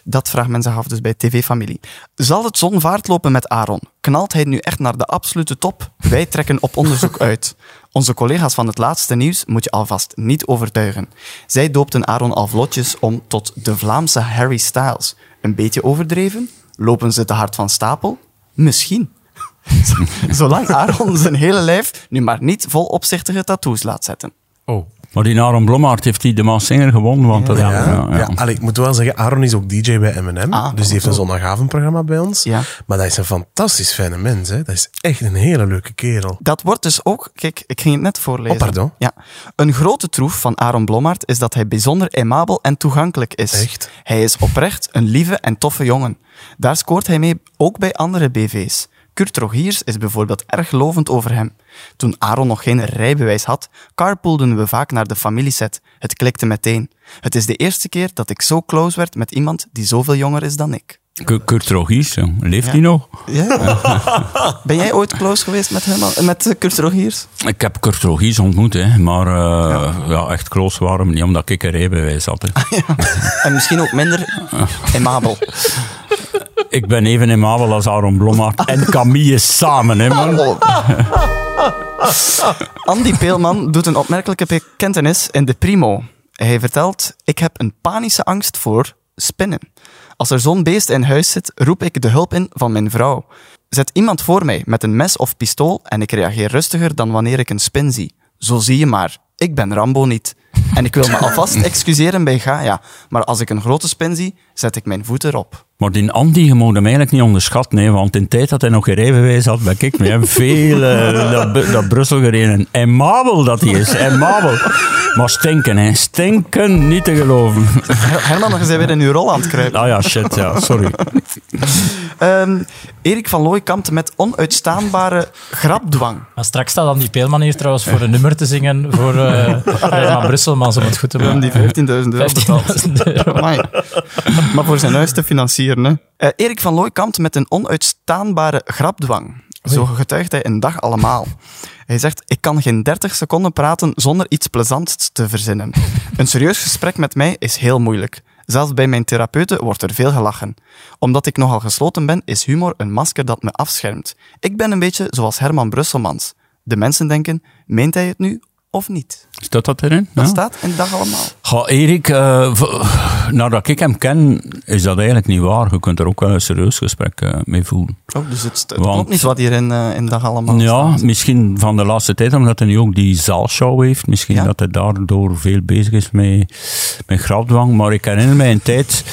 Dat vraagt men zich af dus bij TV-familie. Zal het zon vaartlopen met Aaron? Knalt hij nu echt naar de absolute top? Wij trekken op onderzoek uit. Onze collega's van het laatste nieuws moet je alvast niet overtuigen. Zij doopten Aaron al vlotjes om tot de Vlaamse Harry Styles. Een beetje overdreven? Lopen ze te hard van stapel? Misschien. Zolang Aaron zijn hele lijf nu maar niet vol opzichtige tattoos laat zetten. Oh. Maar die Aaron Blommaert heeft die de Maas Singer gewonnen. Want dat, Ja, Oh, ja, ja. Allee, ik moet wel zeggen, Aaron is ook DJ bij M&M. Ah, dus die heeft een zondagavondprogramma bij ons. Ja. Maar dat is een fantastisch fijne mens. Hè. Dat is echt een hele leuke kerel. Dat wordt dus ook, kijk, ik ging het net voorlezen. Oh, pardon. Ja. Een grote troef van Aaron Blommaert is dat hij bijzonder aimabel en toegankelijk is. Echt? Hij is oprecht een lieve en toffe jongen. Daar scoort hij mee ook bij andere BV's. Kurt Rogiers is bijvoorbeeld erg lovend over hem. Toen Aaron nog geen rijbewijs had, carpoolden we vaak naar de familieset. Het klikte meteen. Het is de eerste keer dat ik zo close werd met iemand die zoveel jonger is dan ik. Ku- Kurt Rogiers, jong. leeft hij nog? Ben jij ooit close geweest met, hem, met eh, Kurt Rogiers? Ik heb Kurt Rogiers ontmoet, hè, maar eh, ja. echt close waren we niet, omdat ik een rijbewijs had. hè. En misschien ook minder aimabel. ik ben even in Mabel als Aaron Blommaert en Camille samen, hè, man. Andy Peelman doet een opmerkelijke bekentenis in De Primo. Hij vertelt, ik heb een panische angst voor spinnen. Als er zo'n beest in huis zit, roep ik de hulp in van mijn vrouw. Zet iemand voor mij met een mes of pistool en ik reageer rustiger dan wanneer ik een spin zie. Zo zie je maar, ik ben Rambo niet. En ik wil me alvast excuseren bij Gaia. Maar als ik een grote spin zie, zet ik mijn voet erop. Maar die Andy, je moet hem eigenlijk niet onderschatten, hè, want in de tijd dat hij nog geen rijbewijs had, ben ik met hem veel eh, naar, Bu- naar Brussel gereden. En mabel dat hij is, en mabel. Maar stinken, hè. Stinken, niet te geloven. Her- Herman, je bent weer in uw rol aan het kruipen. Ah ja, shit, ja, sorry. Ehm, Erik van Looy kampt met onuitstaanbare grapdwang. Maar straks staat dan die Peelman hier trouwens voor een nummer te zingen voor eh Herman Brusselmans, om het goed te We hebben maken. die 15.000 euro betaald. 15.000 euro. Amai. Maar voor zijn huis te financieren. Hè. Eh, Erik van Looy kampt met een onuitstaanbare grapdwang. Zo getuigt hij een dag allemaal. Hij zegt, ik kan geen 30 seconden praten zonder iets plezants te verzinnen. Een serieus gesprek met mij is heel moeilijk. Zelfs bij mijn therapeuten wordt er veel gelachen. Omdat ik nogal gesloten ben, is humor een masker dat me afschermt. Ik ben een beetje zoals Herman Brusselmans. De mensen denken, meent hij het nu of niet? Staat dat erin? Dat Ja? staat in dag allemaal. Ga Erik, eh, v- nadat ik hem ken, is dat eigenlijk niet waar. Je kunt er ook wel een serieus gesprek eh, mee voeren. Oh, dus het, het Want- klopt niet wat hier in, eh, in dag allemaal Ja, staat. misschien van de laatste tijd, omdat hij nu ook die zaalshow heeft. Misschien Ja. dat hij daardoor veel bezig is met, met grapdwang. Maar ik herinner mij een tijd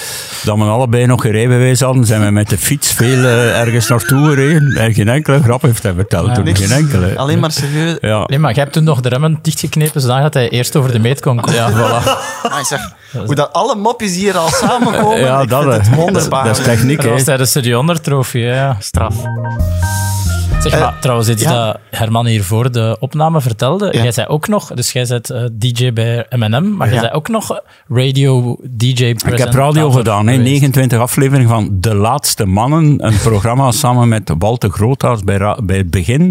dat we allebei nog geen rijbewijs hadden. Zijn we met de fiets veel eh, ergens naartoe gereden. En geen enkele grap heeft hij verteld Ja, toen. niks. Geen enkele. Alleen maar serieus. Ja. Nee, maar jij hebt toen nog de remmen dichtgeknepen zodat hij eerst over de meet kon. Ja, voilà. Ah, ik zeg, hoe dat alle mopjes hier al samenkomen, Ja, ik dat, vind eh, het dat, is- wonderbaar. dat is techniek, Dat hè. was tijdens de Jonder trofee, ja. straf. Zeg Eh, maar, trouwens, iets ja. dat Herman hier voor de opname vertelde. Ja. Jij zei ook nog, dus jij bent eh, DJ bij M&M, maar jij Ja. zei ook nog radio DJ Ik heb radio gedaan, hè. 29 afleveringen van De Laatste Mannen. Een programma samen met Walter Groothuis bij, ra- bij het begin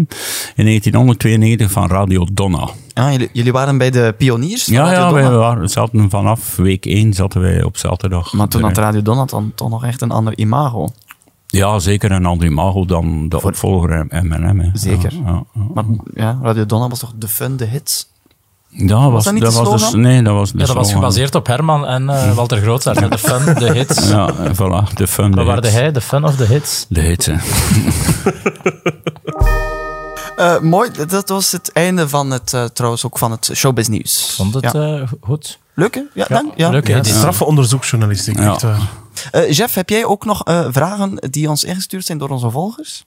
in 1992 van Radio Donna. Ah, jullie, jullie waren bij de pioniers? van Ja, Radio ja wij Donat. waren, zaten vanaf week 1 zaten wij op zaterdag. Maar toen Eh, had Radio Donat dan toch nog echt een ander imago. Ja, zeker een ander imago dan de opvolger M&M. hè. Zeker. Ja, ja, ja. Maar ja, Radio Donat was toch de fun, de hits? Ja, was, dat niet de was dus, slogan? Nee, dat was de Ja, dat was slogan. gebaseerd op Herman en eh, Walter Grootzaar. De fun, de hits. Hm. Ja, eh, voilà, de fun. Wat waren hits. hij? De fun of de hits? De hits, hè. Eh, mooi, dat- dat was het einde van het, eh, trouwens ook van het showbiz nieuws. Vond het ja. eh, goed? Leuk, hè? Ja, dank. Ja. Leuk, hè, Ja, die- straffe onderzoeksjournalistiek, Ja. echt waar. Eh, Jeff, heb jij ook nog eh, vragen die ons ingestuurd zijn door onze volgers?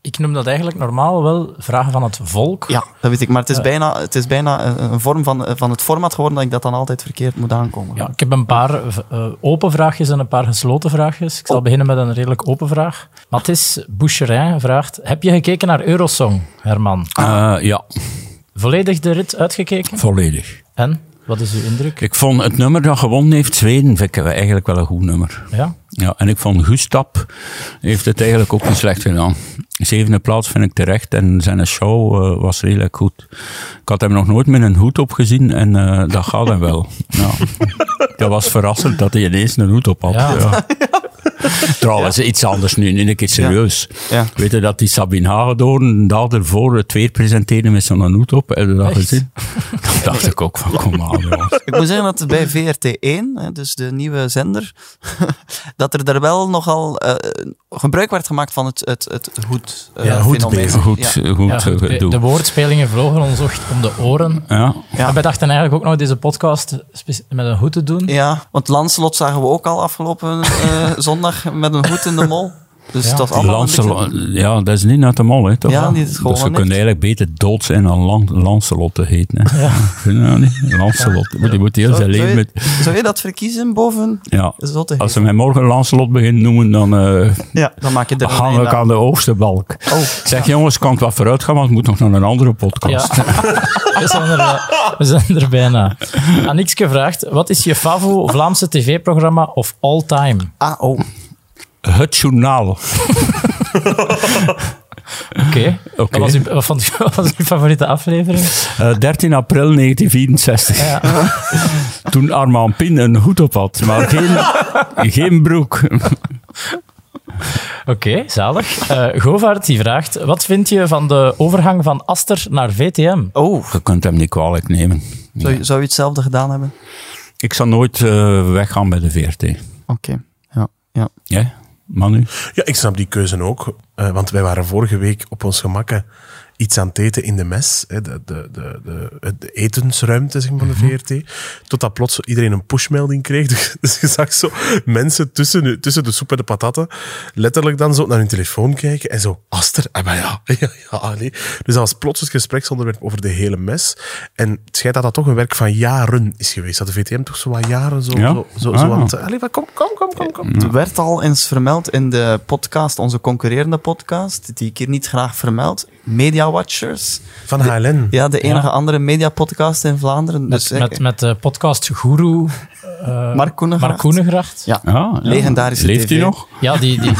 Ik noem dat eigenlijk normaal wel vragen van het volk. Ja, dat weet ik. Maar het is bijna, het is bijna een, een vorm van, eh, van het format geworden dat ik dat dan altijd verkeerd moet aankomen. Ja, ik heb een paar eh, open vraagjes en een paar gesloten vraagjes. Ik Oh. zal beginnen met een redelijk open vraag. Mathis Boucherin vraagt: Heb je gekeken naar Eurosong, Herman? Ah. Eh, ja, Volledig de rit uitgekeken? volledig. En wat is uw indruk? Ik vond het nummer dat gewonnen heeft, Zweden, vind ik eigenlijk wel een goed nummer. Ja, Ja, en ik vond Gustap heeft het eigenlijk ook niet slecht gedaan. Zevende plaats vind ik terecht en zijn show eh, was redelijk goed. Ik had hem nog nooit met een hoed op gezien en eh, dat gaat hem wel. Ja. Dat was verrassend dat hij ineens een hoed op had. Ja. Ja. Trouwens, iets anders nu, nu een keer serieus. Ja. Weet je dat die Sabine Hagedoorn daar ervoor het weer presenteerde met zo'n hoed op? Heb je dat gezien? Dat dacht ik ook van, kom aan jongens. Ik moet zeggen dat bij VRT1, hè, dus de nieuwe zender, dat er daar wel nogal eh, gebruik werd gemaakt van het, het, het goed eh, Ja, fenomeen. hoedbeeld. Goed, Ja. goed, Ja, goed, de, gedoe. de woordspelingen vlogen ons echt om de oren. Ja. Ja. En wij dachten eigenlijk ook nog deze podcast spe- met een hoed te doen. Ja, want Lancelot zagen we ook al afgelopen eh, zondag met een hoed in de mol. Dus Ja. dat is allemaal een Lancelot, beetje- ja, dat is niet naar de mol, hè, toch? Ja, die is gewoon dus we niks. kunnen eigenlijk beter dood zijn dan Lan Lancelot te heten. Hè. Ja. Vind je dat niet? Lancelot. Die moet heel zijn zou, zou, leven je, met... zou je dat verkiezen boven? Ja. Zotte Als ze mij morgen Lancelot beginnen noemen, dan eh, Ja, dan maak je Oh, er een hang ik einde aan de hoogste balk. Zeg, jongens, kan ik wat vooruit gaan, want ik moet nog naar een andere Ja. podcast. We zijn, er, eh, we zijn er bijna. Anikske vraagt, wat is je favo Vlaamse tv-programma of all time? Ah, oh. Het journaal. Oké. Wat, Oké. was uw- wat vond u- wat was uw favoriete aflevering? Eh, 13 april 1964. Ja. Toen Armand Pin een hoed op had, maar geen, geen broek. Oké, zalig. Eh Govaert die vraagt, wat vind je van de overgang van Aster naar VTM? oh. Je kunt hem niet kwalijk nemen. Zou, je- zou je hetzelfde gedaan hebben? Ik zal nooit eh, weggaan bij de VRT. Oké, ja. ja. Ja, Manu? Ja, ik snap die keuze ook. eh, want wij waren vorige week op ons gemakken iets aan het eten in de mes, hè, de, de, de, de, de etensruimte zeg maar, van de Mhm. VRT, totdat plots iedereen een pushmelding kreeg. Dus, dus je zag zo mensen tussen, de- tussen de soep en de patatten letterlijk dan zo naar hun telefoon kijken en zo, aster, ah maar ja, ja, ja nee. Dus dat was plots het gespreksonderwerp over de hele mes. En het schijnt dat dat toch een werk van jaren is geweest, dat de VTM toch zo wat jaren zo, Ja? zo, zo, Ah. zo aan het... Allee, maar kom, kom, kom, kom, kom. Het werd al eens vermeld in de podcast, onze concurrerende podcast, die ik hier niet graag vermeld. Media Watchers. Van HLN. Ja, de enige andere mediapodcast in Vlaanderen. dus, eh, Met, met, met de podcast Guru eh Mark Koenegracht. Mark Koenegracht. Ja, Ah, Ja, ja. Legendarische Leeft hij TV. nog? Ja, Ah, die, die, die,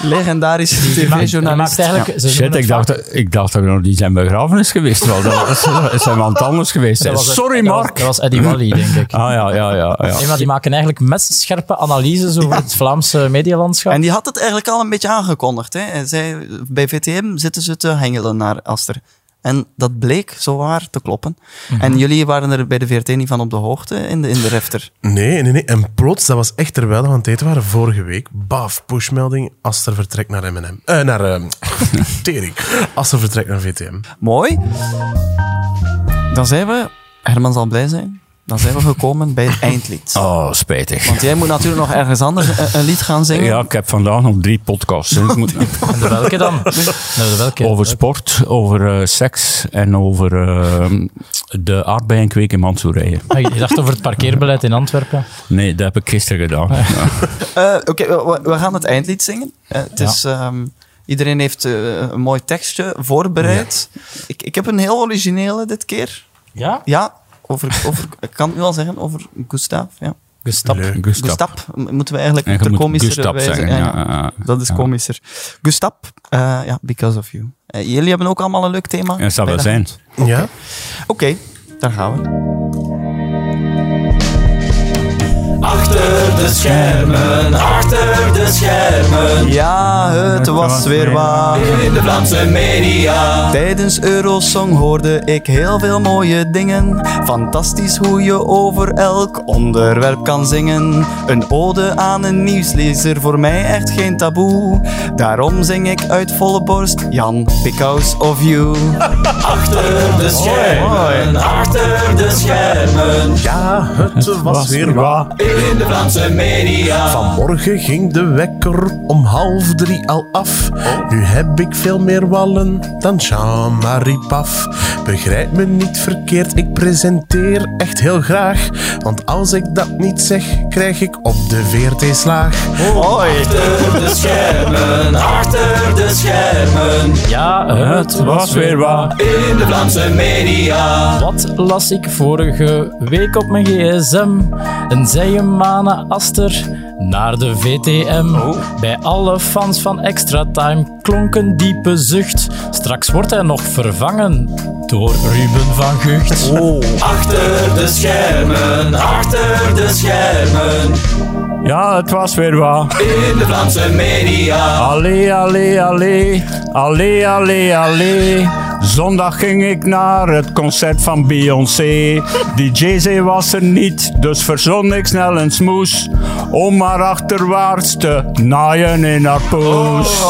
legendarische die maakt tv-journalist. eigenlijk... ze noemen Shit, het ik vaak- dacht, ik dacht dat we nog niet zijn begrafenis geweest. was. Dat was- dat zijn we aan het anders geweest. dat was- Sorry, dat was- Mark. Dat was Eddie Wally, denk ik. Ah ja, ja, ja. ja. Nee, maar die maken eigenlijk messenscherpe analyses over het Vlaamse medialandschap. En die had het eigenlijk al een beetje aangekondigd. Hè. En Zij, bij VTM zitten ze te hengelen naar Aster. En dat bleek zowaar te kloppen. Mhm. En jullie waren er bij de VRT niet van op de hoogte in de, in de refter. Nee, nee, nee. En plots, dat was echt terwijl we aan het eten waren vorige week. Baf, pushmelding. Aster vertrekt naar M&M. Eh, naar... ehm tering. Aster vertrekt naar VTM. Mooi. Dan zijn we, Herman zal blij zijn, dan zijn we gekomen bij het eindlied. Oh, spijtig. Want jij moet natuurlijk nog ergens anders een, een lied gaan zingen. Ja, ik heb vandaag nog drie podcasts. hè. Ik moet- En de welke dan? Nou, de welke? over sport, over eh, seks en over eh, de aardbeienkweken in Mansoerije. Ah, Je dacht over het parkeerbeleid in Antwerpen. Nee, dat heb ik gisteren gedaan. Ja. Eh, Oké, we, we gaan het eindlied zingen. Eh, het Ja. is, ehm, iedereen heeft eh, een mooi tekstje voorbereid. Ik, ik heb een heel originele dit keer. Ja? Ja, over, over, ik kan het nu al zeggen, over Gustav. Ja. Gustap. Leuk. Gustap. Gustav m- moeten we eigenlijk En op je de moet komischere Gustap wijze... zeggen, ja, ja, ja. ja, ja. Dat is Ja. komischer. Gustav, eh, ja, because of you. Eh, jullie hebben ook allemaal een leuk thema. Dat zou wel Bijna. zijn. Ja? Oké, daar gaan we. Achter de schermen, achter de schermen. Ja, het was weer waar. In de Vlaamse media. Tijdens Eurosong hoorde ik heel veel mooie dingen. Fantastisch hoe je over elk onderwerp kan zingen. Een ode aan een nieuwslezer, voor mij echt geen taboe. Daarom zing ik uit volle borst, Jan, because of you. Achter de schermen, achter de schermen. Ja, het was, weer waar. In de Vlaamse media. Vanmorgen ging de wekker om half drie al af. Nu heb ik veel meer wallen dan Jean-Marie Paf. Begrijp me niet verkeerd, ik presenteer echt heel graag. Want als ik dat niet zeg, krijg ik op de VRT slaag. Hoi. Achter de schermen, achter de schermen. Ja, het was weer waar. In de Vlaamse media. Wat las ik vorige week op mijn gsm? Een zeemane aster naar de VTM. Oh. Bij alle fans van Extra Time klonk een diepe zucht. Straks wordt hij nog vervangen door Ruben van Gucht. Oh. Achter de schermen, achter de schermen. Ja, het was weer waar. In de Vlaamse media. Allee, allee, allee. Allee, allee, allee. Zondag ging ik naar het concert van Beyoncé. Die Jay-Z was er niet, dus verzon ik snel een smoes. Om maar achterwaarts te naaien in haar poes.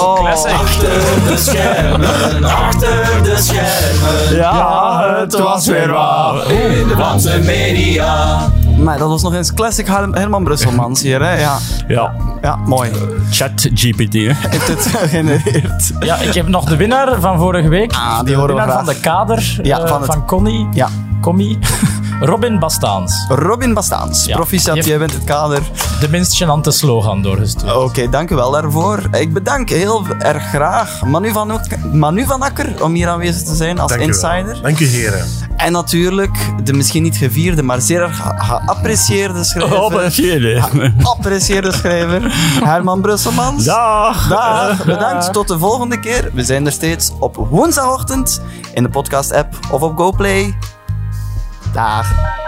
Achter de schermen, achter de schermen. Ja, het was weer waar. In de Vlaamse media. Maar dat was nog eens classic Her- Herman Brusselmans hier, hè? Ja, Ja, ja mooi. ChatGPT. hè. Heeft het gegenereerd. Ja, ik heb nog de winnaar van vorige week. Ah, die de horen we winnaar van graag. de kader Ja, eh, van van, het- Connie. Ja. Commie. Robin Bastaans. Robin Bastaans, Ja. proficiat, Jef- jij bent het kader. De minst gênante slogan doorgestuurd. Oké, dank u wel daarvoor. Ik bedank heel erg graag Manu van, Ook- Manu van Akker om hier aanwezig te zijn als Dank u wel. insider. Dank u, heren. En natuurlijk de misschien niet gevierde, maar zeer erg ge- geapprecieerde schrijver. Oh, dat zie je. hè. Apprecieerde schrijver, Herman Brusselmans. Dag. Dag, bedankt. Tot de volgende keer. We zijn er steeds op woensdagochtend in de podcast-app of op GoPlay. Dag.